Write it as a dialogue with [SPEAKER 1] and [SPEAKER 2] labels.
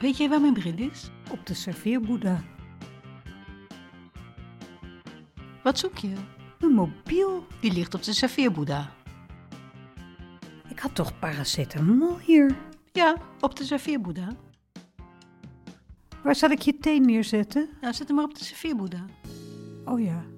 [SPEAKER 1] Weet jij waar mijn bril is?
[SPEAKER 2] Op de serveerboeddha.
[SPEAKER 1] Wat zoek je?
[SPEAKER 2] Mijn mobiel.
[SPEAKER 1] Die ligt op de serveerboeddha.
[SPEAKER 2] Ik had toch paracetamol hier?
[SPEAKER 1] Ja, op de serveerboeddha.
[SPEAKER 2] Waar zal ik je thee neerzetten?
[SPEAKER 1] Nou, zet hem maar op de serveerboeddha.
[SPEAKER 2] Oh ja.